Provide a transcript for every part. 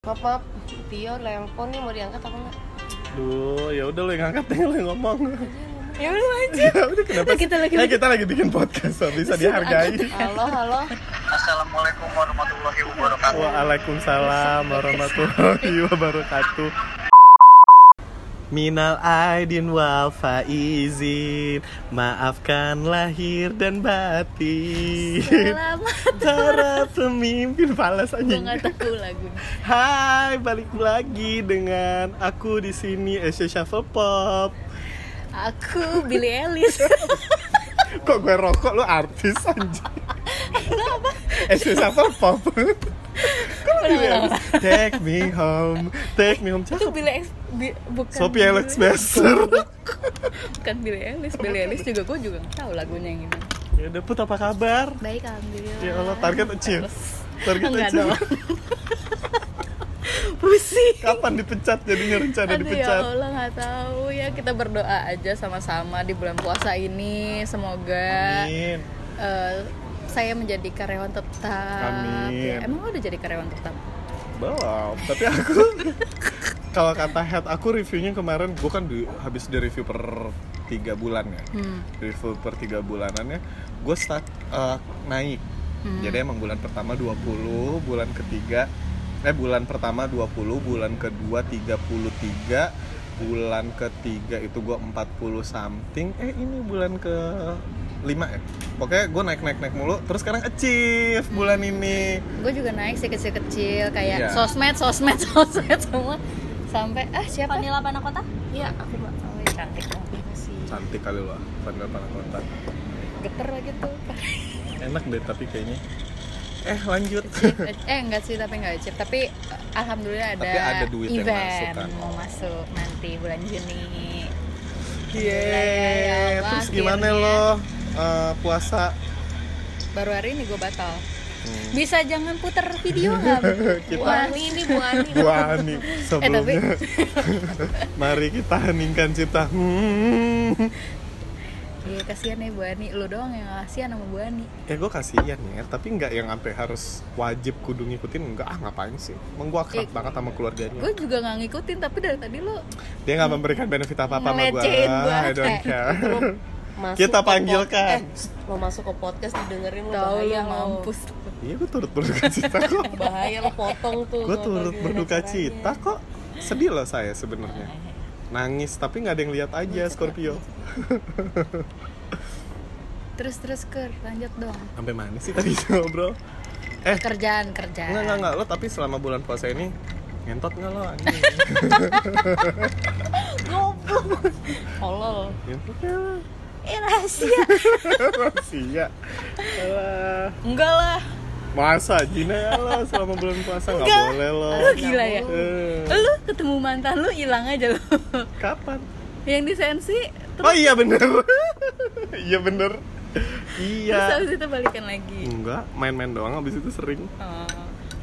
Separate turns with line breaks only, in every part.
maaf maaf Tio nelpon nih mau diangkat apa enggak
Duh, ya udah lo yang angkat deh, lo yang ngomong.
ya udah aja
Ya udah kenapa?
Nah,
sih?
kita lagi-
Nah, kita lagi bikin podcast, so bisa dihargai.
halo halo
Assalamualaikum warahmatullahi wabarakatuh.
Waalaikumsalam warahmatullahi wabarakatuh. Minal aidin wal faizin, maafkan lahir dan batin.
lama
Para pemimpin falas
gue
anjing.
nggak tahu lagu
Hai, balik lagi dengan aku di sini Asia Shuffle Pop.
aku Billy Ellis
Kok gue rokok lu artis anjing. Asia Shuffle Pop. Kok lu
Ulang, ulang.
Take me home, take me home.
itu kan
Cakep.
Billy Ex- Bi- bukan
Sophie
Billie-
Alex Besser.
bukan Billy Ellis Billy Ellis juga gue juga nggak tahu lagunya yang gimana
Ya udah Put apa kabar?
baik alhamdulillah
Ya Allah target achieve. Target
Enggak
achieve.
dong. pusing
Kapan dipecat jadinya rencana
Aduh ya
dipecat?
Allah nggak tahu ya kita berdoa aja sama-sama di bulan puasa ini semoga
Amin.
eh, saya menjadi karyawan tetap.
Amin.
Ya, emang lo udah jadi karyawan tetap?
Belum, tapi aku kalau kata head aku reviewnya kemarin gue kan di- habis di review per tiga bulan ya
Hmm.
review per tiga bulanannya gue start eh, naik
Hmm.
jadi emang bulan pertama 20 bulan ketiga eh bulan pertama 20 bulan kedua 33 bulan ketiga itu gue 40 something eh ini bulan ke 5 ya pokoknya gue naik naik naik mulu terus sekarang achieve bulan ini
Gue juga naik sih kecil-kecil kayak
Iya.
sosmed, sosmed, sosmed semua sampai ah siapa?
Vanilla Panah Kota?
iya aku mbak
Oh, cantik banget sih.
cantik kali loh Fadil Panakota
Geter lagi tuh.
enak deh tapi kayaknya eh lanjut
eh enggak sih tapi enggak chip tapi eh, alhamdulillah ada,
Tapi ada duit yang
event
masuk kan.
mau masuk nanti bulan Juni.
Yeay,
ya Allah,
terus gimana
akhirnya.
lo eh, puasa
Baru hari ini gue batal.
Hmm.
Bisa jangan puter video nggak?
Kita-
Bu
Wah,
Ani ini Bu Ani
Bu Ani sebelumnya
Eh, tapi-
mari kita heningkan cipta hmm.
Iya kasihan ya Bu Ani, lu doang yang kasihan sama Bu Ani
ya gue kasihan ya tapi nggak yang sampai harus wajib kudu ngikutin nggak ah ngapain sih emang gue akrab
Eh,
banget sama keluarganya
Gue juga gak ngikutin, tapi dari tadi lu
dia nggak memberikan benefit apa apa sama gue
Ngelecehin banget.
I don't
Eh,
care
Lu masuk
Kita
ke
panggilkan.
pod- eh, lo masuk ke podcast didengerin lo
tau lu
bahaya lo.
ya, mampus
iya gue turut berduka cita kok
bahaya lo potong
gitu,
tuh
gue
kalau
turut
gimana
berduka
caranya.
cita kok sedih loh saya sebenarnya nangis tapi nggak ada yang lihat aja Scorpio
Terus-terus Ker, lanjut dong
sampai mana sih tadi ngobrol eh
Kerjaan, kerjaan
nggak nggak nggak lo tapi selama bulan puasa ini ngentot nggak lo anjing
tolol
ngentotnya
Eh rahasia
sia Alah.
Enggak lah,
masa Jina ya lo selama bulan puasa nggak
Nggak.
boleh lo
lu gila ya
Eh,
Lu ketemu mantan lu hilang aja lu
kapan
Yang di sensi
oh iya bener iya bener
Terus
iya
habis itu balikan lagi
enggak main-main doang abis itu sering
Oh,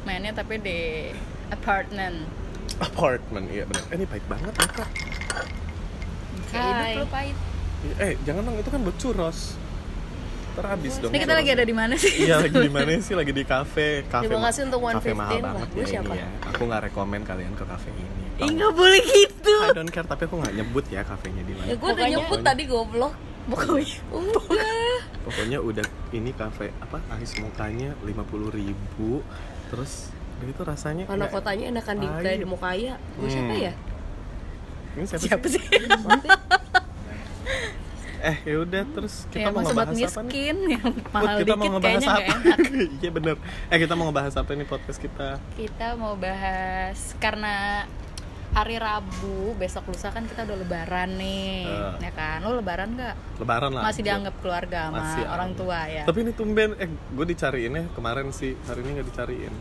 Mainnya tapi di apartment
apartment iya bener eh, ini baik banget ya Kak.
Kayak hidup
Hai.
lu pahit
Eh, jangan dong, itu kan buat curos. Ntar habis dong.
Ini kita lagi ada di mana sih?
Iya, lagi di mana sih? Lagi di kafe. Kafe.
Terima kasih untuk
kafe mahal
115.
banget
Lu
ya
siapa?
ini ya. Aku nggak rekomen kalian ke kafe ini.
Ih nggak boleh gitu
I don't care, tapi aku nggak nyebut ya kafenya di mana.
ya gue udah
Pokoknya-
nyebut tadi goblok
Pokoknya Udah
Pokoknya udah ini kafe apa? Ais mukanya 50.000 ribu. Terus udah itu rasanya nggak-
anak kotanya enakan di
Pahit.
kayak di mau kaya gue siapa
Hmm.
ya
Ini siapa,
Siapa
sih?
sih?
Eh, ya udah terus kita
yang
mau
sobat
ngebahas apa nih?
miskin yang
Put,
mahal
kita mau
dikit
ngebahas
kayaknya
apa?
nggak ya? enak.
Iya bener. Eh kita mau ngebahas apa nih podcast kita?
Kita mau bahas karena hari Rabu besok lusa kan kita udah Lebaran nih,
Eh.
ya kan? Lo Lebaran nggak?
Lebaran lah. iya.
Masih dianggap keluarga sama
Masih
orang
anggap.
tua ya?
Tapi ini tumben, eh gue dicariinnya kemarin sih, hari ini nggak dicariin.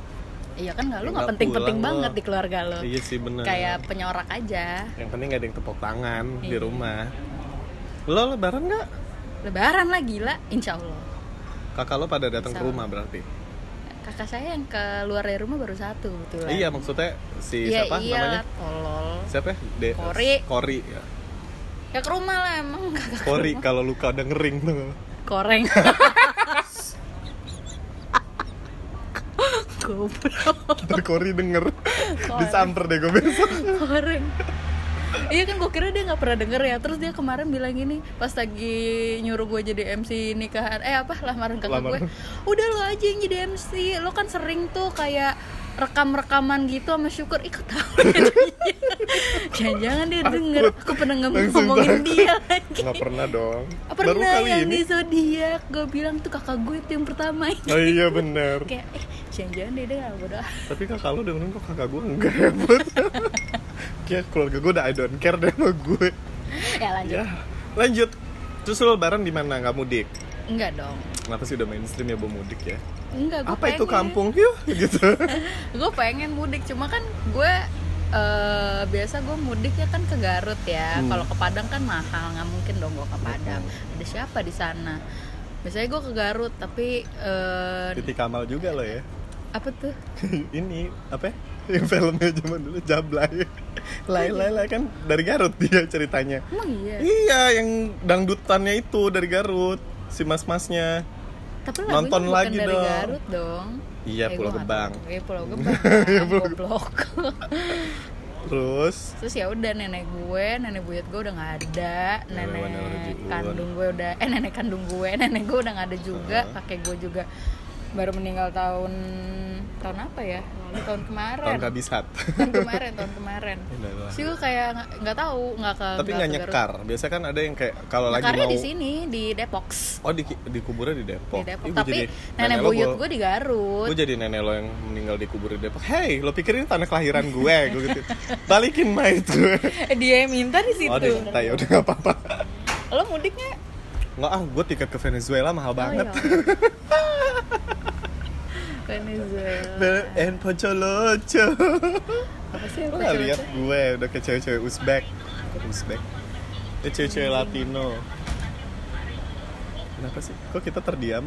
Iya kan nggak? Lo nggak
Ya nggak
penting-penting
pulang
banget
lo.
di keluarga lo.
Iya sih bener.
Kayak penyorak aja.
yang penting nggak ada yang tepuk tangan di
Iya.
rumah. Lo lebaran nggak?
Lebaran lah gila, insya Allah.
Kakak lo pada datang ke
Sama.
rumah berarti?
Kakak saya yang keluar dari rumah baru satu betul.
Iya maksudnya si
Iya,
siapa
iya
namanya?
lah, tolol.
Siapa? ya? De
Kori.
Kori ya.
Ya ke rumah lah emang kakak
Kori kalau luka udah ngering tuh.
koreng. Goblok.
Ntar Kori denger. disamper deh gue besok
kemarin iya kan gue kira dia nggak pernah denger ya terus dia kemarin bilang gini pas lagi nyuruh gue jadi MC nikahan eh apa lamaran kakak gue
Lamaran.
udah lo aja yang jadi MC lo kan sering tuh kayak rekam-rekaman gitu sama syukur ikut tahu jangan-jangan dia denger aku pernah ngom-
Langsung
ngomongin
takut.
dia lagi
nggak pernah dong baru
Oh, pernah
kali
yang
ini
di zodiak gue bilang tuh kakak gue itu yang pertama
oh iya bener
kayak eh jangan-jangan dia denger bodoh
tapi kakak lo dengerin kok kakak gue enggak ya buat kayak keluarga gue udah I don't care deh sama gue
ya lanjut
ya lanjut terus lo lebaran di mana nggak mudik
enggak dong
kenapa sih udah mainstream ya bawa mudik ya
enggak gue
apa itu
pengen.
kampung yuk gitu
gue pengen mudik cuma kan gue eh, biasa gue mudik ya kan ke Garut ya
Hmm.
kalau ke Padang kan mahal nggak mungkin dong gue ke Padang ada siapa di sana biasanya gue ke Garut tapi eh,
titik Kamal juga lo ya
apa tuh
ini apa ya? yang filmnya zaman dulu Jablay lai lai lai kan dari Garut dia ceritanya
emang iya
iya yang dangdutannya itu dari Garut si mas-masnya
tapi lagunya
Nonton
bukan
lagi
dari
dong.
Garut dong
Iya,
Eh,
Pulau
gua nggak
Gebang.
tahu. iya Pulau Gebang goblok
terus
terus ya udah nenek gue nenek buyut gue udah nggak ada
Nenek
nenek
mana ada juga.
kandung gue udah eh nenek kandung gue nenek gue udah nggak ada juga kakek gue juga baru meninggal tahun tahun apa ya tahun kemarin
tahun kabisat
tahun kemarin tahun kemarin
Udah lah.
sih gue kayak nggak- nggak tahu nggak ke
tapi nggak nyekar biasa kan ada yang kayak kalau lagi
nyekarnya
mau
di sini di Depok
oh di di kuburan di
di
Depok,
Depok
Ih, gua
tapi
jadi
nenek
lo
buyut
gua-
gue di Garut
gue jadi nenek lo yang meninggal di kubur di Depok hey lo pikir ini tanah kelahiran gue gue gitu balikin mah itu
dia yang minta di situ
oh dia minta ya udah nggak apa-apa
lo mudiknya iya.
nggak ah gue tiket ke Venezuela mahal
Oh,
banget
Venezuela
Bel and Pocholocho
apa sih
Lo
yang
gak
lucu-lucu?
liat gue udah kayak cewek-cewek Uzbek Uzbek Ya cewek-cewek Latino Kenapa sih? Kok kita terdiam?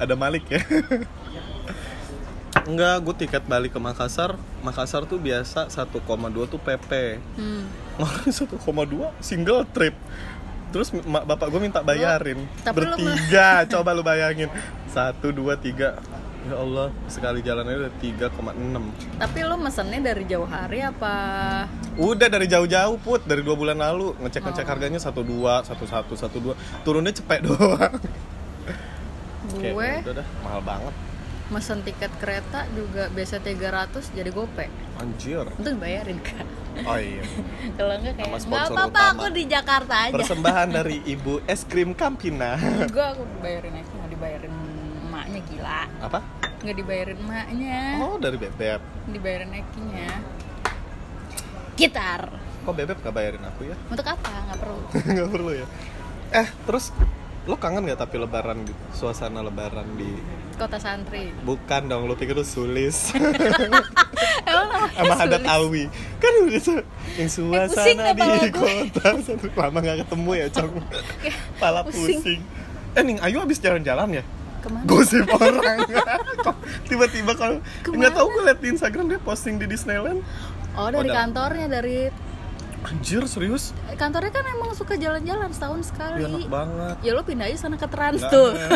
Ada Malik ya? Enggak, gue tiket balik ke Makassar Makassar tuh biasa 1,2 tuh PP
Hmm.
Orang 1,2 single trip Terus ma- bapak gue minta bayarin
Tapi lo
Bertiga, coba lu bayangin Satu, dua, tiga Ya Allah, sekali jalannya udah 3,6
Tapi lo mesennya dari jauh hari apa?
Udah dari jauh-jauh put dari dua bulan lalu ngecek
Oh.
ngecek harganya satu dua satu satu satu dua turunnya cepet doang. Kayak,
Gue
ya udah dah mahal banget
mesen tiket kereta juga biasa 300 jadi gope.
anjir.
Itu dibayarin kan?
Oh iya.
Kalau enggak kayak
Sama
nggak
sponsor
apa-apa
utama."
aku di Jakarta aja.
Persembahan dari ibu es krim Kampina.
Gue aku bayarin aja nggak dibayarin emaknya gila.
Apa?
Nggak dibayarin emaknya,
Oh dari bebek.
dibayarin ekinya. Gitar.
Kok bebek gak bayarin aku ya?
Untuk apa? Nggak perlu.
Gak perlu ya. Eh terus lo kangen gak tapi lebaran gitu? Suasana lebaran di
Kota santri.
bukan dong lo pikir lo sulis
Emang namanya
sama adat
sulit?
Alwi kan udah se- yang
pusing
suasana
deh
di
pala gue.
kota satu lama nggak ketemu ya cong pala pusing.
pusing.
eh Ning Ayu abis jalan-jalan ya
Kemana?
gosip orang Kok tiba-tiba kalau
Kemana?
nggak tahu gue liat di Instagram dia posting di Disneyland
Oh dari
Oh, dalam.
kantornya dari
anjir serius
kantornya kan emang suka jalan-jalan setahun sekali.
dia Iya, enak banget
ya lo pindah aja sana ke trans
Nggak, eh,
tuh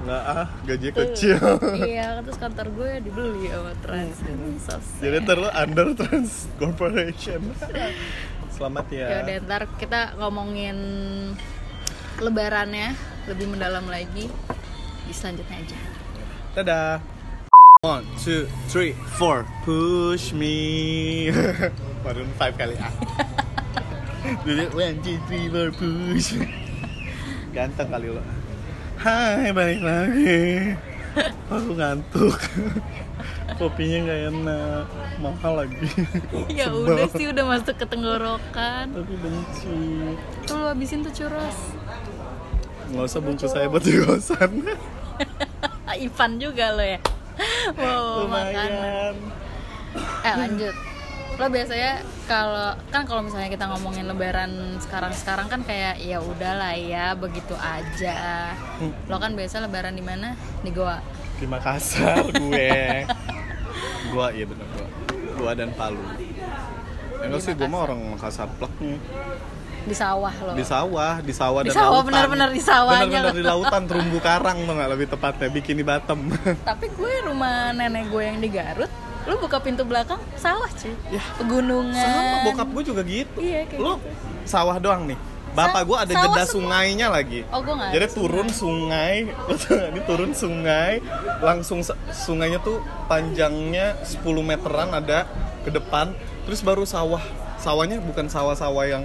nggak ah gaji kecil
iya terus kantor gue dibeli sama trans Sos.
jadi ntar lo under trans corporation selamat ya
ya udah ntar kita ngomongin lebarannya lebih mendalam lagi di selanjutnya aja
Dadah. One, two, three, four. Push me. Baru five kali ah. Jadi one, two, three, four, push. me. Ganteng kali lo. Hai, balik lagi. Aku ngantuk. Kopinya nggak enak, mahal lagi.
ya
Sebel.
udah sih udah masuk ke tenggorokan
Tapi benci.
tuh lo habisin tuh churros
Nggak usah bungkus saya buat kosan.
Ah, Ivan juga lo ya wow Oh, makanan
Lumayan.
eh lanjut lo biasanya kalau kan kalau misalnya kita ngomongin lebaran sekarang sekarang kan kayak ya udahlah ya begitu aja
Hmm.
lo kan biasa lebaran di mana di Goa
di Makassar gue gue iya bener gue gue dan Palu enggak
Di
sih gue
Makassar.
mah orang Makassar plek nih
di sawah lo
di sawah di sawah
Di
dan
sawah,
lautan
bener-bener di sawahnya
bener-bener
loh.
di lautan terumbu karang mah nggak lebih tepatnya bikin di Batam
tapi gue rumah nenek gue yang di Garut lu buka pintu belakang sawah cuy
Yah.
pegunungan
Ya. Sama bokap gue juga gitu.
Iya, kayak
Lu sawah doang nih. Bapak
Sa-
gue ada
sawah
jeda
semua.
sungainya lagi.
Oh, gua nggak
Jadi
ada
turun sungai, ini turun sungai, langsung sa- sungainya tuh panjangnya 10 meteran ada ke depan, terus baru sawah. Sawahnya bukan sawah-sawah yang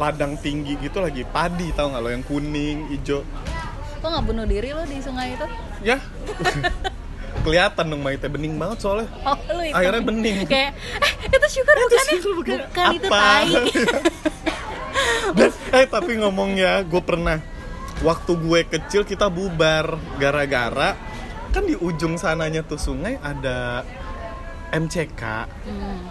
ladang tinggi gitu lagi, padi tau nggak lo yang kuning, hijau.
lo nggak bunuh diri lo di sungai itu
Ya. Kelihatan dong maitnya bening banget soalnya.
oh lu itu
Akhirnya bening.
kayak eh, itu syukur bukan ya
Itu
bukan,
bukan
itu
apa.
tai
Dan, eh tapi ngomong ya, gue pernah waktu gue kecil kita bubar gara-gara kan di ujung sananya tuh sungai ada MCK.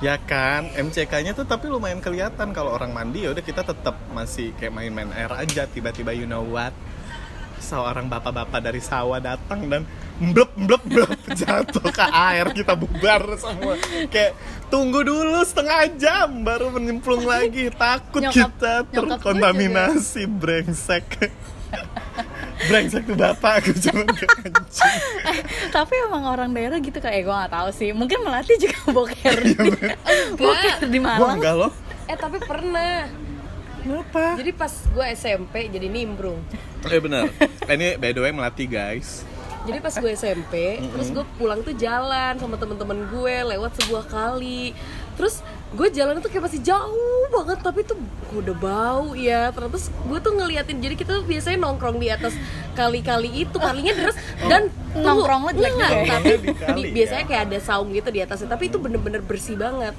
Ya kan, MCK-nya tuh tapi lumayan kelihatan kalau orang mandi ya udah kita tetap masih kayak main-main air aja tiba-tiba you know what seorang bapak-bapak dari sawah datang dan mblep mblep mblep jatuh ke air kita bubar semua kayak tunggu dulu setengah jam baru menyemplung lagi takut
Nyokap-
kita
nyokap gua
terkontaminasi brengsek brengsek tuh bapak aku cuman kayak anjing
tapi emang orang daerah gitu kayak eh, gue nggak tahu sih mungkin melati juga boker di- boker di
Iya, gua
Malang
enggak loh
Eh tapi pernah.
kenapa
Jadi pas gue SMP jadi nimbrung.
eh benar ini by the way melati guys
Jadi pas gue SMP, terus gue pulang tuh jalan sama temen-temen gue lewat sebuah kali. Terus gue jalan tuh kayak masih jauh banget, tapi tuh udah bau ya. Terus gue tuh ngeliatin, jadi kita tuh biasanya nongkrong di atas kali-kali itu, kalinya deras dan tuh-
Nongkrong lo jelek
Enggak,
juga ya?
tapi
Oh. Di kali,
di- biasanya
ya.
kayak ada saung gitu di atasnya, tapi itu bener-bener bersih banget.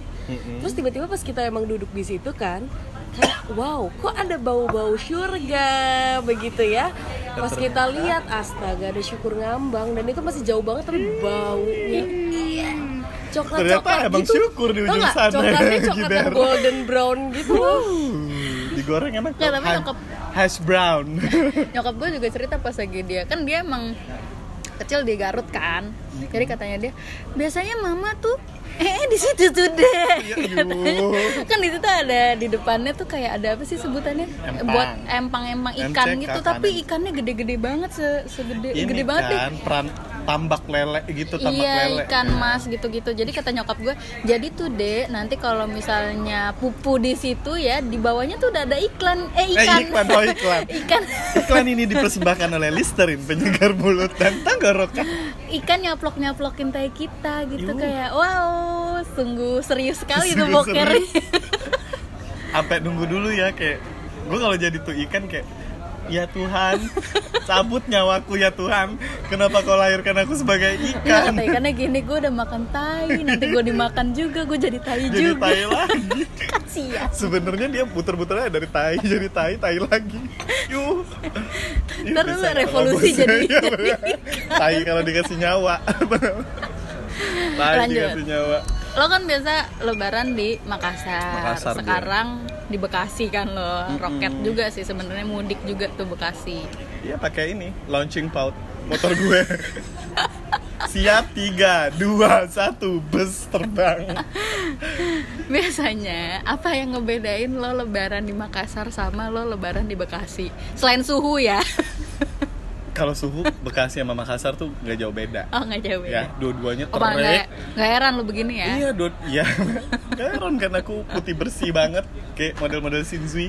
Terus tiba-tiba pas kita emang duduk di situ kan, kayak wow, kok ada bau-bau surga begitu ya. Pas kita lihat astaga ada syukur ngambang dan itu masih jauh banget tapi baunya coklat coklat
Hmm. Ternyata emang
gitu.
syukur di
Tau
ujung
nggak?
sana,
Coklatnya coklat
Giber.
yang golden brown gitu.
Hmm, digoreng enak
Nggak, tapi
Ha-
nyokap.
hash brown
nyokap gue juga cerita pas lagi dia kan dia emang kecil di Garut kan jadi katanya dia biasanya mama tuh eh di situ tuh deh
Iya, aduh.
kan di situ ada di depannya tuh kayak ada apa sih sebutannya
Empang.
buat empang-empang ikan
MCK,
gitu
kan?
tapi ikannya gede-gede banget se- segede
ini
gede banget deh
kan peran tambak lele gitu tambak
iya
lele
ikan mas gitu-gitu jadi kata nyokap gue jadi tuh deh nanti kalau misalnya pupu di situ ya di bawahnya tuh udah ada iklan eh
eh
ikan
iklan oh iklan
ikan
iklan ini dipersembahkan oleh Listerin penyegar mulut dan tenggorokan
ikan nyaplok nyaplokin tai kita gitu
Yuh.
kayak wow sungguh serius sekali tuh
Sungguh
boker
serius. ya? sampai nunggu dulu ya kayak gue kalau jadi tuh ikan kayak ya Tuhan cabut nyawaku ya Tuhan kenapa kau lahirkan aku sebagai
Nggak, kata
ikan
ikannya Iya, gini gue udah makan tai nanti gue dimakan juga gue jadi tai
jadi
juga
tai lagi
kasihan
sebenarnya dia puter-puternya dari tai jadi tai tai lagi yuh Yuh,
Ntar dulu
bisa
revolusi
kalau
jadi-
bosnya- Iya, bener. tai kalau dikasih nyawa tai
Lanjut.
dikasih nyawa
lo kan biasa lebaran di Makassar,
Makassar iya. gue.
sekarang di Bekasi kan lo roket juga sih sebenarnya mudik juga tuh Bekasi
Iya pakai ini launching pout motor gue. Siap 3, 2, 1, bus terbang.
biasanya apa yang ngebedain lo lebaran di Makassar sama lo lebaran di Bekasi selain suhu ya
Kalau suhu Bekasi sama Makassar tuh nggak jauh beda.
oh nggak jauh
Ya,
ya
dua-duanya
oh malah nggak
terik.
nggak heran lo begini ya
Iya, dua iya. Heran kan aku putih bersih banget kayak model-model Shinzui.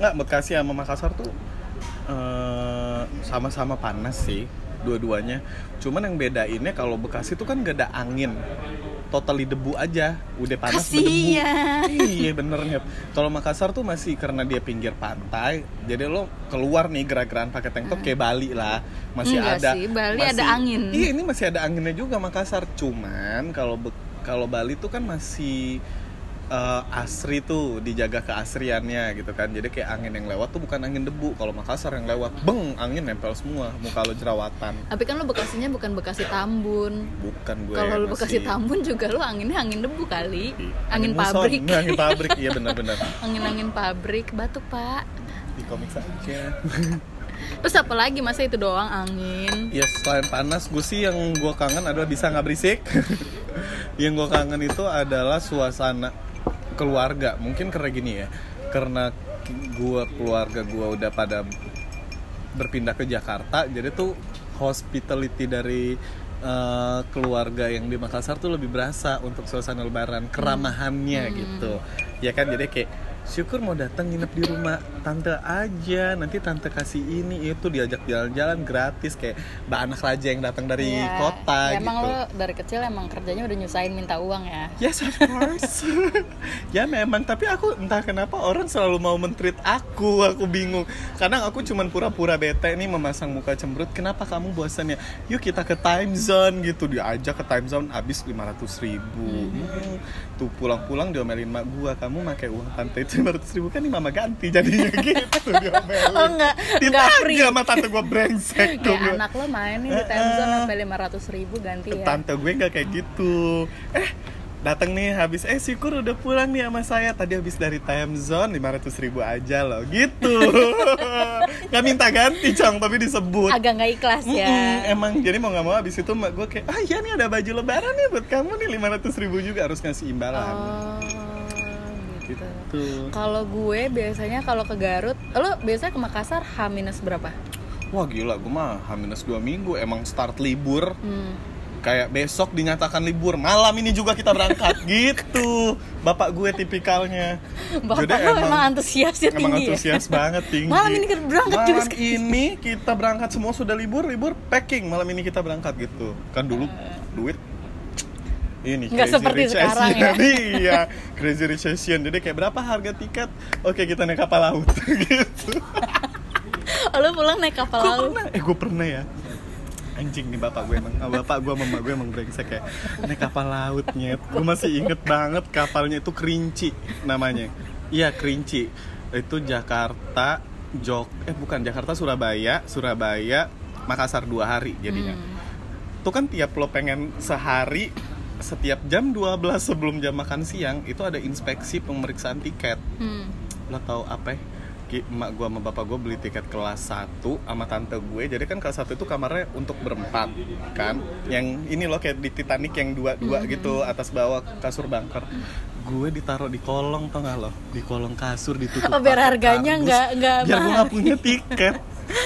Nggak, Bekasi sama Makassar tuh eh, sama-sama panas sih dua-duanya. Cuman yang bedainnya kalau Bekasi tuh kan gak ada angin. Totally debu aja. Udah panas berdebu.
kasihan
iya bener nih kalau Makassar tuh masih karena dia pinggir pantai jadi lo keluar nih gerak-geran pakai tank
Ah.
top kayak Bali lah masih
Enggak
ada
sih, Bali ada angin.
iya ini masih ada anginnya juga Makassar cuman kalau Be- kalau Bali tuh kan masih eh, asri tuh dijaga keasriannya gitu kan jadi kayak angin yang lewat tuh bukan angin debu kalau Makassar yang lewat beng angin nempel semua muka lo jerawatan
tapi kan lo Bekasinya bukan Bekasi Tambun
bukan gue
kalau lo
ya masih-
Bekasi Tambun juga lo anginnya angin debu kali angin
muson.
pabrik
angin pabrik iya bener-bener
angin-angin pabrik batuk pak
di komik saja
Terus apa lagi masa itu doang angin?
Ya selain panas, gue sih yang gue kangen adalah bisa nggak berisik. yang gue kangen itu adalah suasana keluarga. Mungkin karena gini ya, karena gue keluarga gue udah pada berpindah ke Jakarta, jadi tuh hospitality dari eh, keluarga yang di Makassar tuh lebih berasa untuk suasana lebaran keramahannya
Hmm.
gitu ya kan jadi kayak syukur mau datang nginep di rumah tante aja nanti tante kasih ini itu diajak jalan-jalan gratis kayak mbak anak raja yang datang dari
Iya.
kota
Ya,
gitu
Emang lo dari kecil emang kerjanya udah nyusahin minta uang ya?
Yes of course. ya memang, tapi aku entah kenapa orang selalu mau mentreat aku, aku bingung. Kadang aku cuman pura-pura bete nih memasang muka cemberut. Kenapa kamu bosan ya? Yuk kita ke time zone gitu. Diajak ke time zone habis 500 ribu. Hmm. Tuh pulang-pulang diomelin mak gua, kamu pakai uang tante itu 500 ribu kan nih mama ganti jadinya gitu diomelin.
Oh enggak, enggak free.
Ditagih sama tante gua brengsek.
Kayak
gua bilang.
anak lo main nih di time zone sampai 500 ribu ganti ya.
Tante gue nggak kayak gitu. Eh, datang nih habis eh syukur udah pulang nih sama saya tadi habis dari time zone 500 ribu aja loh gitu nggak minta ganti cang tapi disebut
Agak nggak ikhlas
Mm-mm,
ya.
emang jadi mau nggak mau habis itu mak gue kayak ah iya nih ada baju lebaran nih buat kamu nih 500 ribu juga harus ngasih imbalan
Oh, gitu.
gitu
Kalau gue biasanya kalau ke Garut, lo biasanya ke Makassar H minus berapa?
wah gila gue mah minus dua minggu emang start libur
Hmm.
kayak besok dinyatakan libur malam ini juga kita berangkat gitu bapak gue tipikalnya
Bapak
Jadi
lo emang antusiasnya
emang
tinggi ya?
antusias banget tinggi
Malam ini kita berangkat
Malam
juga sekali.
ini kita berangkat semua sudah libur libur packing malam ini kita berangkat gitu kan dulu duit ini
Nggak
crazy
seperti
rich
sekarang
Asian.
ya.
iya crazy rich Asian. jadi kayak berapa harga tiket oke kita naik kapal laut gitu
Lo pulang naik kapal
Gua
laut.
pernah eh gue pernah ya anjing nih bapak gue emang ah, bapak gue mama gue emang brengsek ya naik kapal lautnya gue masih inget banget kapalnya itu kerinci namanya iya kerinci itu Jakarta Jok eh bukan Jakarta Surabaya Surabaya Makassar dua hari jadinya
Hmm.
itu kan tiap lo pengen sehari setiap jam 12 sebelum jam makan siang itu ada inspeksi pemeriksaan tiket
Hmm.
lo tau apa ya? Ki- emak gua sama bapak gua beli tiket kelas 1 sama tante gue jadi kan kelas 1 itu kamarnya untuk berempat kan yang ini loh kayak di Titanic yang dua-dua
Mm-hmm.
gitu atas bawah kasur bunker gue ditaruh di kolong tau gak lo di kolong kasur ditutup
Oh, biar
pakai
harganya
kardus,
nggak- nggak
biar gue
mahal.
nggak punya tiket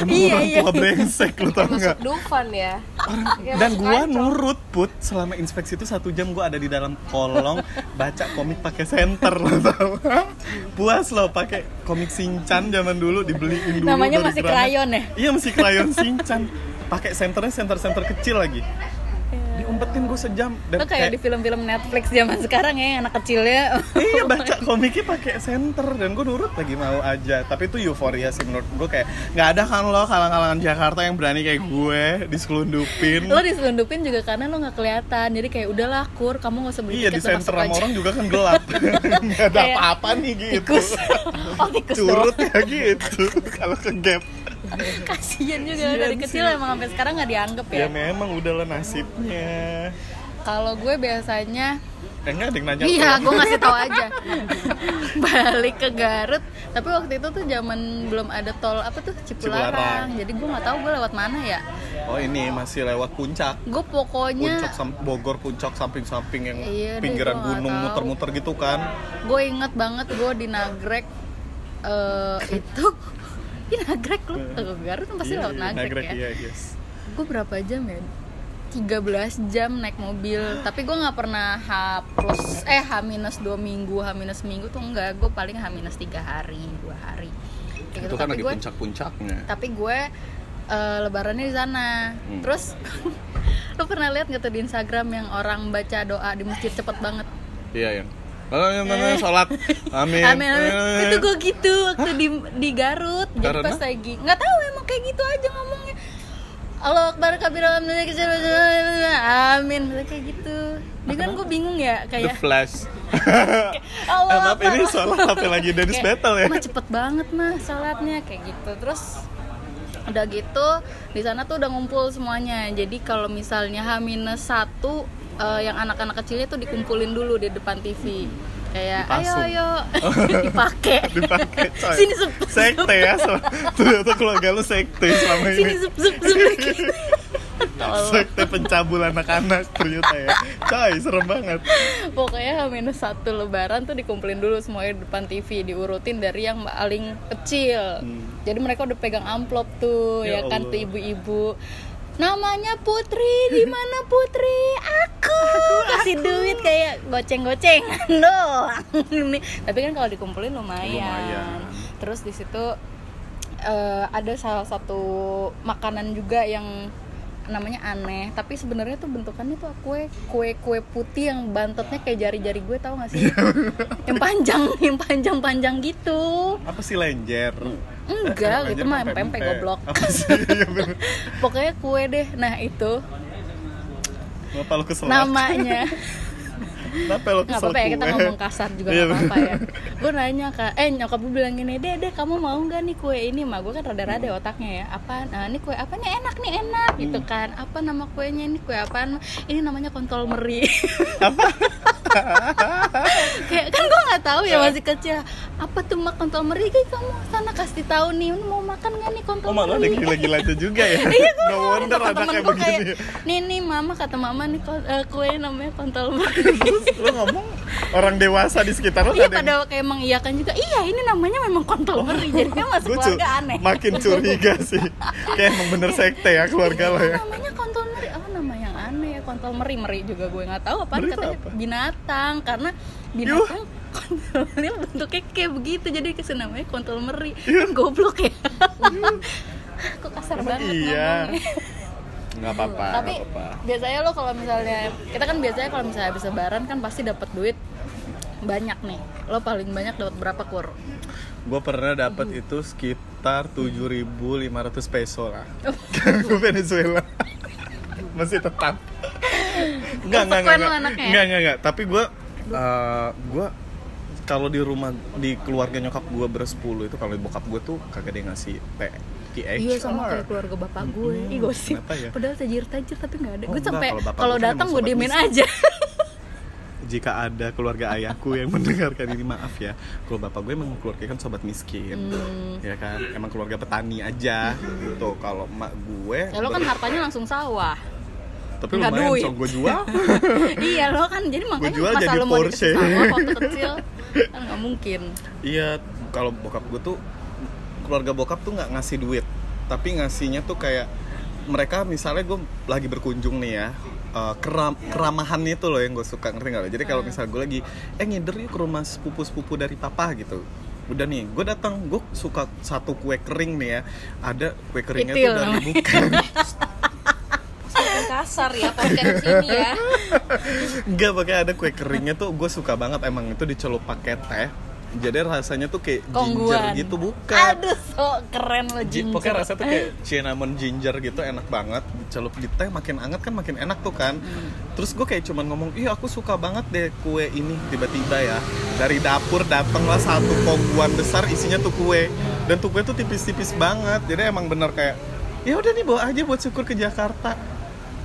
Emang
Iya,
orang
iya,
tua brengsek lo tau
masuk
gak
Dufan ya Ya,
dan
masuk
gua
ancol.
nurut put selama inspeksi itu satu jam gua ada di dalam kolong baca komik pakai senter lo tau puas lo pakai komik sinchan zaman dulu dibeliin dulu
Namanya
dari
masih
Gramet.
krayon ya?
iya masih krayon sinchan pakai senternya senter senter kecil lagi diumpetin gue sejam dan
Iya. Lo kayak di film-film Netflix zaman sekarang ya, yang anak kecilnya.
iya baca komiknya pakai senter dan gue nurut lagi mau aja tapi itu euforia sih menurut gue kayak nggak ada kan lo kalang-kalangan Jakarta yang berani kayak gue diselundupin
lo diselundupin juga karena lo nggak kelihatan jadi kayak udahlah kur kamu nggak usah beli
Iya di
tiket lo
center
masuk
sama
aja
orang juga kan gelap Gak ada
Kayak
apa-apa nih gitu
tikus oh tikus
Curut
doang.
ya gitu Kalau ke gap
kasian juga
Kasian
dari kecil
Iya sih.
emang sampai sekarang nggak dianggap ya,
Ya memang udahlah nasibnya
kalau gue biasanya
Eh enggak ada yang nanya
iya
aku.
gue ngasih tahu aja balik ke Garut tapi waktu itu tuh zaman belum ada tol apa tuh Cipularang,
Cipularang.
jadi gue nggak tahu gue lewat mana ya
Oh ini masih lewat puncak
gue pokoknya
Puncak sam- Bogor puncak samping-samping yang
Iya deh, gua
pinggiran
nggak
gunung
tahu.
muter-muter gitu kan
gue inget banget gue di Nagrek eh, itu di Nagrek lo ke Garut pasti
Iya,
lewat
iya,
Nagrek, ya
iya yes
gue berapa jam ya 13 jam naik mobil tapi gue nggak pernah H plus eh H minus dua minggu H minus minggu tuh enggak gue paling H minus tiga hari dua hari Kayak gitu.
Itu kan
tapi
lagi
gue
puncak-puncaknya
tapi gue eh, lebarannya di sana
Hmm.
terus lo pernah lihat nggak tuh di Instagram yang orang baca doa di masjid cepet banget
Iya yang Amin, sholat Amin
Eh.
Eh,
Amin, amin. Itu gue gitu waktu di di Garut. Jadi
Karena?
pas lagi nggak tahu emang kayak gitu aja ngomongnya. Allah Akbar kabir alhamdulillah kecil amin kayak gitu. Jadi kan gue bingung ya
The
kayak
Flash Eh,
Allah
maaf ini
Akbar.
sholat apa lagi Dennis
Kayak,
Battle ya
"Mah, cepet banget mah sholatnya kayak gitu. Terus udah gitu di sana tuh udah ngumpul semuanya. Jadi kalau misalnya H-1 eh, yang anak-anak kecilnya tuh dikumpulin dulu di depan TV. Kayak ayo
Dipasung.
ayo dipakai.
dipakai coy
Sini, sup, sup.
sekte ya so- ternyata keluarga lu sekte selama
Sini
ini
zup zup zup gitu. Tolol.
sekte pencabul anak-anak ternyata ya coy serem banget
Pokoknya minus satu lebaran tuh dikumpulin dulu semuanya di depan TV diurutin dari yang paling kecil.
Hmm.
Jadi mereka udah pegang amplop tuh
Ya
ya, kan
Allah.
tuh ibu-ibu. namanya Putri di mana Putri aku kasih duit kayak goceng-goceng doang Ini- tapi kan kalau dikumpulin lumayan,
Lumayan.
terus di situ eh, ada salah satu makanan juga yang namanya aneh tapi sebenarnya tuh bentukannya tuh kue kue kue putih yang bantotnya kayak jari-jari gue tau gak sih yang panjang yang panjang-panjang gitu
apa sih lenjer
enggak gitu
Lenjer
mah
pempek-
pempek
pempek.
goblok
apa sih Iya, bener.
pokoknya kue deh nah itu
kenapa lo kesel
namanya
kenapa lo
nggak
kesel
apa-apa ya kita
kue?
ngomong kasar juga
Iya,
nggak apa-apa ya gue nanya kak eh nyokap gue bilang gini deh deh kamu mau nggak nih kue ini mah gue kan rada-rada otaknya ya apa nah, ini kue apa nih enak nih enak gitu
Hmm.
kan apa nama kuenya ini kue apaan ini namanya kontol meri kayak kan gue nggak tahu
Eh.
ya masih kecil apa tuh mak kontol meri kayak kamu sana kasih tahu nih "Ini mau makan nggak nih kontol
oh malah ada
meri?"
gila-gila itu juga ya
Iya,
no wonder
Kata
anak
temen
kayak
gue kayak,
begini
nih nih mama kata mama nih kon- eh, kue namanya kontol meri
terus lo ngomong orang dewasa di sekitar lo
Iya
nggak Oh, ada yang-
pada kayak mengiyakan juga Iya ini namanya memang kontol meri Jadinya masuk
Gua cu-
keluarga aneh
makin curiga sih kayak emang bener sekte ya keluarga lo ya
Namanya kontol meri Apa nama yang aneh ya kontol meri Meri juga gue nggak tahu apa
Meri itu
katanya
apa?
binatang Karena binatang kontol meri bentuknya kayak begitu Jadi kesan namanya kontol meri Goblok ya Kok kasar
Emang
banget
iya
ngomongnya.
nggak apa-apa
tapi
nggak apa-apa.
biasanya lo kalau misalnya kita kan biasanya kalau misalnya habis lebaran kan pasti dapat duit banyak nih lo paling banyak dapat berapa kur
gue pernah dapat itu sekitar 7.500 peso lah
Oh.
gue Venezuela masih tetap nggak nggak nggak
Konsekuen lo
nggak
anaknya ya?
nggak nggak nggak. tapi gue eh, gue kalau di rumah di keluarga nyokap gue bersepuluh itu kalau bokap gue tuh kagak ada yang ngasih P THR.
Iya sama kayak keluarga bapak gue. Ih gosip.
Kenapa ya?
Padahal tajir-tajir tapi nggak ada.
Oh,
gue
enggak,
sampai
kalau bapak
kalau
gue kan
datang
emang
gue
sobat
diemin
bisnis.
aja.
jika ada keluarga ayahku yang mendengarkan ini maaf ya kalau bapak gue emang keluarga kan sobat miskin
Hmm.
ya kan emang keluarga petani aja gitu kalau emak gue
ya lo kan hartanya langsung sawah.
tapi
nggak
lumayan
duit.
cong gue jual
iya lo kan jadi makanya
jual
masa
jadi
lo mau dikasih
Porsche.
sawah waktu kecil kan nggak mungkin.
iya kalau bokap gue tuh keluarga bokap tuh nggak ngasih duit tapi ngasihnya tuh kayak mereka misalnya gue lagi berkunjung nih ya eh, keram keramahan itu loh yang gue suka ngerti nggak lo? Jadi
Hmm.
kalau misalnya gue lagi eh ngider yuk ke rumah sepupu-sepupu dari papa gitu. Udah nih, gue datang gue suka satu kue kering nih ya. Ada kue keringnya
Itil
tuh dari
namanya.
bukan
Makin kasar ya podcast ini ya
Enggak, pakai ada kue keringnya tuh gue suka banget emang itu dicelup pakai teh. Jadi rasanya tuh kayak ginger
Kongguan.
gitu bukan.
Aduh so keren lo
Ji-
Jin.
Pokoknya rasanya tuh kayak cinnamon ginger gitu enak banget dicelup di teh makin anget kan makin enak tuh kan terus gue kayak cuman ngomong iya aku suka banget deh kue ini tiba-tiba ya dari dapur datanglah satu kongguan besar isinya tuh kue dan tuh kue tuh tipis-tipis banget jadi emang bener kayak ya udah nih bawa aja buat syukur ke Jakarta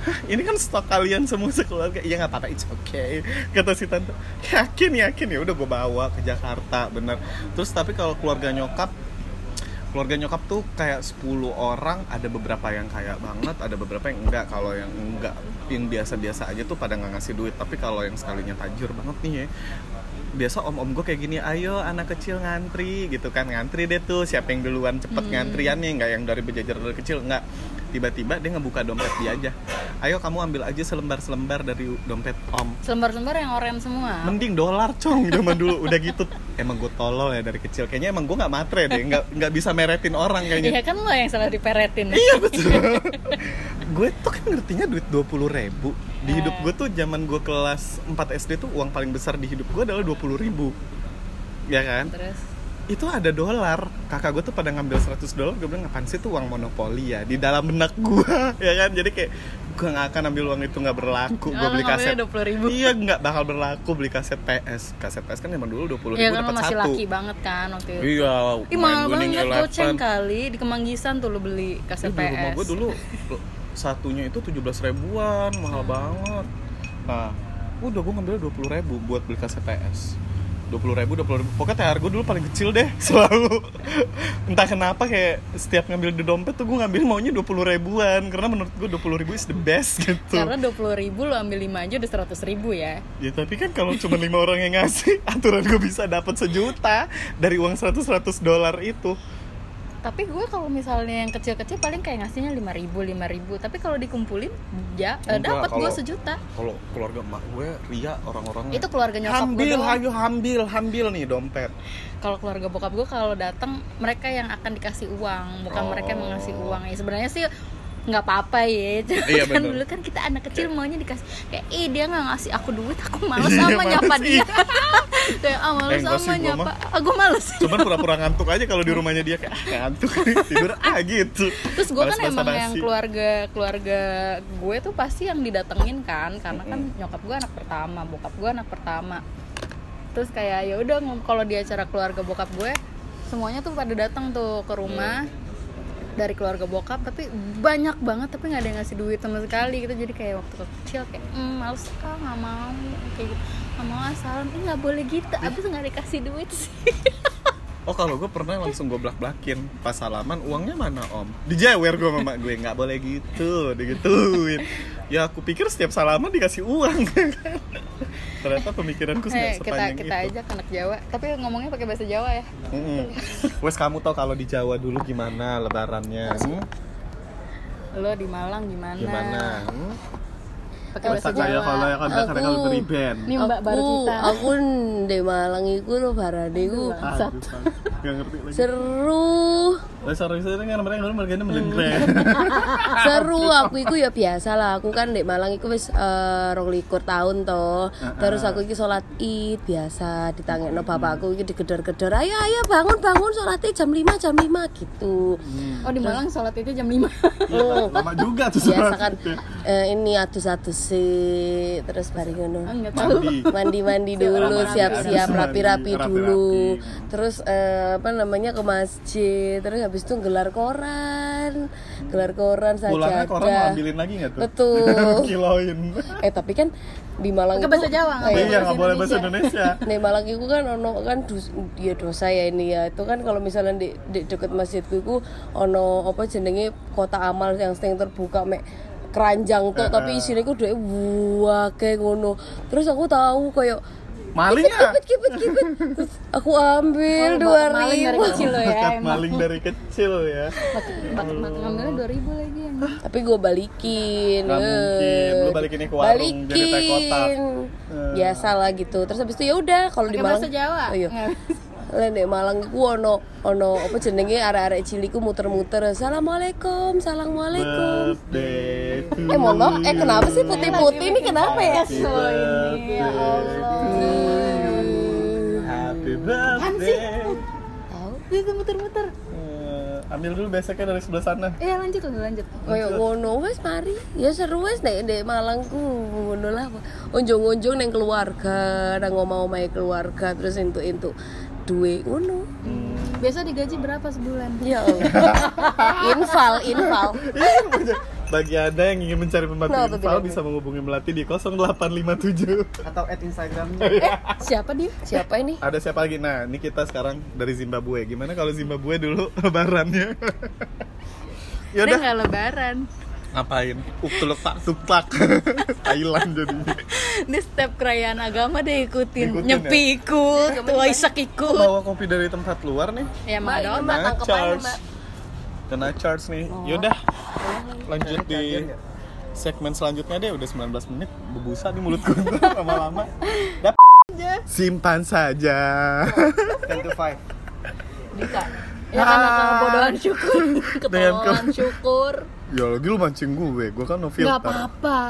Hah, ini kan stok kalian semua sekeluarga iya nggak apa-apa it's okay kata si tante yakin yakin ya udah gue bawa ke Jakarta bener terus tapi kalau keluarga nyokap keluarga nyokap tuh kayak 10 orang ada beberapa yang kaya banget ada beberapa yang enggak kalau yang enggak yang biasa-biasa aja tuh pada nggak ngasih duit tapi kalau yang sekalinya tajir banget nih ya biasa om-om gue kayak gini ayo anak kecil ngantri gitu kan ngantri deh tuh siapa yang duluan cepet ngantriannya nggak yang dari berjajar dari kecil nggak tiba-tiba dia ngebuka dompet dia aja ayo kamu ambil aja selembar-selembar dari dompet om
Selembar-selembar yang oranye semua.
mending dolar cong zaman dulu udah gitu emang gue tolol ya dari kecil kayaknya emang gue nggak matre deh nggak nggak bisa meretin orang
Iya
kayaknya
kan lo yang salah diperetin.
Iya betul. gue tuh kan ngertinya duit 20.000 ribu di hidup
Eh.
gue tuh zaman gue kelas 4 SD tuh uang paling besar di hidup gue adalah 20.000 ribu ya kan
Terus
itu ada dolar kakak gue tuh pada ngambil 100 dolar gue bilang ngapain sih tuh uang monopoli ya di dalam benak gue ya kan jadi kayak gue nggak akan ambil uang itu nggak berlaku gue
Oh,
beli
lo ngambilnya
kaset
20.000.
iya nggak bakal berlaku beli kaset PS kaset PS kan zaman dulu 20.000
Iya kan lo
dapat
masih
satu
laki banget kan waktu itu.
iya
Ih
main
mahal
Winning
banget goceng
Eleven.
kali di Kemanggisan tuh lo beli kaset
Ih, di rumah
PS.
gue dulu lo- satunya itu 17 ribuan mahal banget nah udah gue ngambil 20 ribu buat beli kaset PS 20 ribu, 20 ribu pokoknya THR gue dulu paling kecil deh selalu entah kenapa kayak setiap ngambil di dompet tuh gue ngambil maunya 20 ribuan karena menurut gue 20 ribu is the best gitu
Karena 20.000 ribu lo ambil 5 aja udah 100.000 ribu ya
ya tapi kan kalau cuma lima orang yang ngasih aturan gue bisa dapat sejuta dari uang 100-100 dolar itu
tapi gue kalau misalnya yang kecil-kecil paling kayak ngasihnya lima ribu lima ribu tapi kalau dikumpulin ya eh,
Enggak,
dapat gue
kalau- Hmm.
sejuta
Kalau keluarga emak gue Ria orang-orang
itu keluarga nyokap gue
Hambil,
doang
hayu hambil, hambil nih dompet
kalau keluarga bokap gue kalau datang mereka yang akan dikasih uang bukan
Oh.
mereka yang mengasih uang ya sebenarnya sih nggak apa-apa ya Cuma
Iya,
kan
bener.
dulu kan kita anak kecil maunya dikasih kayak ih dia nggak ngasih aku duit aku males
Iya,
sama nyapa
males,
dia kayak ah
Eh,
males sama
enggak sih, gua
nyapa Ah,
mah.
aku males
Cuman pura-pura ngantuk aja kalau di rumahnya dia kayak ah, ngantuk tidur ah gitu.
terus gue kan
Males-malesan
emang yang
nasi.
keluarga keluarga gue tuh pasti yang didatengin kan karena kan nyokap gue anak pertama bokap gue anak pertama terus kayak ya udah ngom- kalau di acara keluarga bokap gue semuanya tuh pada datang tuh ke rumah
Mm.
dari keluarga bokap tapi banyak banget tapi nggak ada yang ngasih duit sama sekali gitu jadi kayak waktu kecil kayak mm, males ah nggak mau kayak gitu nggak mau ah, salam ini nggak boleh gitu abis nggak dikasih duit sih
Oh kalau gue pernah langsung gue blak-blakin Pas salaman uangnya mana om? Dijewer gue sama mak gue, nggak boleh gitu Digituin Ya aku pikir setiap salaman dikasih uang Ternyata pemikiranku
Eh, kita
nggak sepanjang
kita
itu
aja anak Jawa tapi ngomongnya pakai bahasa Jawa ya
Mm-mm. Wes kamu tau kalau di Jawa dulu gimana lebarannya Hmm?
lo di Malang gimana? Nah.
Gimana? Hmm?
Pakai
Wes
bahasa
tak
Jawa.
kaya ya, kalau yang ada karena kalau beri band
Ini Mbak baru
Aku-
kita.
Aku di Malang iku lo barade ku
Aduh, Gak ngerti lagi
seru.
Wes harus itu kan mereka dulu mereka ini
Hmm.
melengkren
seru aku iku ya biasa lah aku kan di Malang iku wis eh, rong likur tahun toh terus aku iki sholat id biasa ditangekno
Hmm.
bapakku iki digedor-gedor ayo ayo bangun bangun sholat id jam 5 jam 5 gitu
Hmm.
Oh di Malang sholat itu jam 5
Iya, Lama juga tuh
Oh. biasa
sholat
kan
itu.
eh, ini atus-atus sih terus bari ngono
Enggak tahu.
Mandi
mandi-mandi dulu
Siap-rapi.
siap-siap
Habis
rapi-rapi
mandi,
dulu
rapi-rapi.
terus eh, apa namanya ke masjid terus habis itu gelar koran gelar koran
Pulangnya
saja
koran mau ambilin lagi gak tuh?
Betul.
Kiloin
Eh tapi kan di Malang
Pakai
itu-
bahasa Jawa nggak
Eh,
Iya
bahasa
nggak boleh bahasa Indonesia
Di Malang itu kan ono kan dus, ya dosa ya ini ya. Itu kan kalau misalnya di, di deket masjidku itu ono apa jenenge kota amal yang sering terbuka mek keranjang tuh tapi isinya ku dhek wah kayak ngono. Terus aku tahu kayak
Maling ya?
kipit kipit kipit. Terus aku ambil
Malang
dua
dari
ribu.
kecil lo ya
Bakat
emang.
maling dari kecil ya
Bakat maling ngambilnya 2000 lagi ya.
Tapi gue balikin. eh.
Nggak mungkin. Lu balikinnya ke warung,
Balikin.
jadi teh kotak. Eh.
Biasa lah gitu. Terus habis itu ya udah kalau di
Pakai
Malang.
bahasa Jawa.
Oh, iya.
Nggak
Lah nek Malang iku ono ono apa jenenge arek-arek cilik ku muter-muter. Assalamualaikum, assalamualaikum.
Birthday to
Eh mohon maaf, eh kenapa sih putih-putih ini kenapa ya?
Happy birthday
ya Allah.
to you. Happy birthday
Tahu? Dia tuh muter-muter.
Eh, Ambil dulu beseknya dari sebelah sana
Iya lanjut lanjut lanjut.
Kayak ngono wes mari. Ya seru wes nek nek Malangku ngono lah. Unjung-unjung neng keluarga, nang omah-omahe keluarga terus entuk-entuk duwe ngono.
Biasa digaji berapa sebulan?
Ya Allah. infal, infal.
Bagi anda yang ingin mencari pembantu
Kenapa tuh
infal
tidak?
bisa menghubungi Melati di 0857
atau at Instagram
Siapa dia?
Siapa ini?
Ada siapa lagi? Nah, ini kita sekarang dari Zimbabwe Gimana kalau Zimbabwe dulu lebarannya?
Dia
Yaudah
nggak lebaran.
Ngapain? Uktulek tak tuplak Thailand jadinya
Dia setiap kerayaan agama dia ikutin,
Ikutin
nyepi ikut, waisak ikut.
Bawa kopi dari tempat luar nih
Ya mau ada otak.
Kena
Mbak, tangkep aja,
charge
Mbak.
Kena charge nih Yaudah Lanjut di segmen selanjutnya deh Udah 19 menit Bebusa di mulut gue lama-lama Dap Simpan saja
ten to five
Dika. Ya kan akan kebodohan syukur,
Dengan ke-
kebodohan syukur.
Ya lagi lu mancing gue Gue kan no
Gak
filter
apa-apa.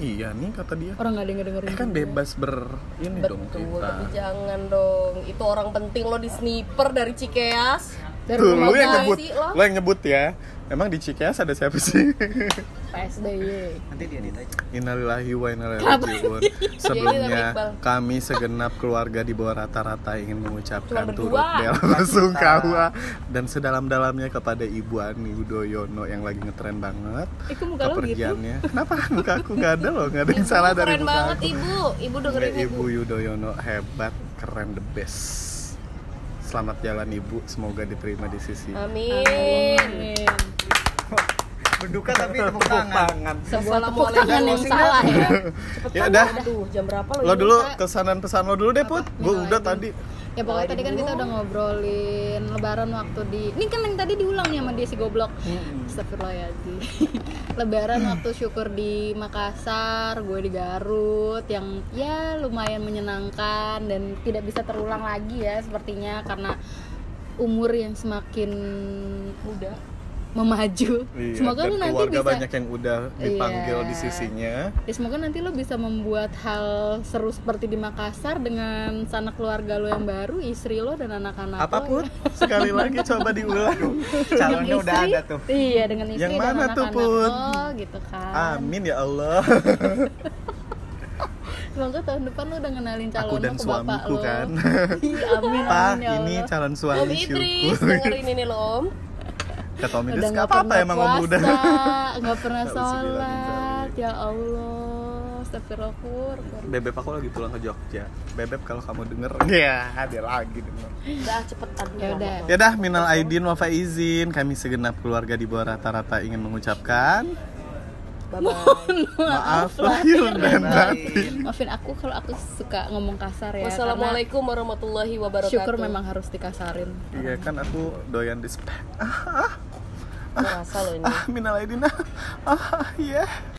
Iya nih kata dia
Orang gak denger dengerin.
Eh, kan bebas ber ini dong
Tuh,
kita
tapi jangan dong. Itu orang penting lo di sniper dari Cikeas.
Dari
Tuh, lu yang
Rumah
nyebut,
sih, lo.
lu yang nyebut ya. Emang di Cikeas ada siapa sih?
PSBY.
nanti dia ditanya
Innalillahi wa inna ilaihi raji'un. Sebelumnya kami segenap keluarga di bawah rata-rata ingin mengucapkan
Cuma
turut
berdua.
bela sungkawa dan sedalam-dalamnya kepada Ibu Ani Udoyono yang lagi ngetren banget.
Itu muka lo gitu.
Kepergiannya. Kenapa muka aku nggak ada loh, nggak ada yang salah dari
Keren
muka
banget
aku.
ibu. Ibu dengerin
Nggak,
ibu.
Ibu Yudhoyono hebat, keren the best. Selamat jalan Ibu, semoga diterima di sisi.
Amin.
berduka tapi tepuk tangan
Sebuah tepuk tangan yang salah ya.
Ya udah,
Aduh, jam berapa lo?
lo
ini?
dulu kesanan pesan lo dulu deh put gue udah tadi
Ya pokoknya tadi kan kita udah ngobrolin lebaran waktu di Ini kan yang tadi diulang nih sama dia si goblok Astagfirullahaladzim Lebaran waktu syukur di Makassar, gue di Garut Yang ya lumayan menyenangkan dan tidak bisa terulang lagi ya sepertinya Karena umur yang semakin muda memaju
Iya,
Semoga
dan
lu nanti
keluarga
bisa
banyak yang udah dipanggil
Iya.
di sisinya.
Ya semoga nanti lo bisa membuat hal seru seperti di Makassar dengan sanak keluarga lo yang baru, istri lo dan anak-anak lo.
Apapun sekali lagi coba diulang.
Dengan
Calonnya udah
istri-
ada tuh.
Iya, dengan istri
Yang
dan
mana
anak-anak
tuh, Put?
lo gitu kan.
Amin ya Allah.
Semoga tahun depan lo udah ngenalin calon
Aku
lo
dan
ke bapak
suamiku
lo.
kan.
Iya, amin,
Pak,
amin ya
ini
Allah.
calon
Om
suami syukur.
Idris dengerin ini loh Om
Kata Om Idris
udah
nggak
nggak
apa-apa
pernah
emang Om
puasa,
udah.
nggak pernah sholat,
Nauzubillah.
ya Allah, astagfirullah.
Bebek aku lagi pulang ke Jogja. Bebek kalau kamu denger, ya ada lagi denger.
Udah cepet aduh
Ya udah.
lama.
Ya dah, minal aidin wa faizin. Kami segenap keluarga di bawah rata-rata ingin mengucapkan
Bye-bye.
maaf lahir dan batin.
Maafin aku kalau aku suka ngomong kasar ya. karena-
Wassalamualaikum warahmatullahi wabarakatuh
Syukur memang harus dikasarin.
Iya kan aku doyan di spek.
Merasa loh ini
Ah, minal aidin. Ah, ah, iya.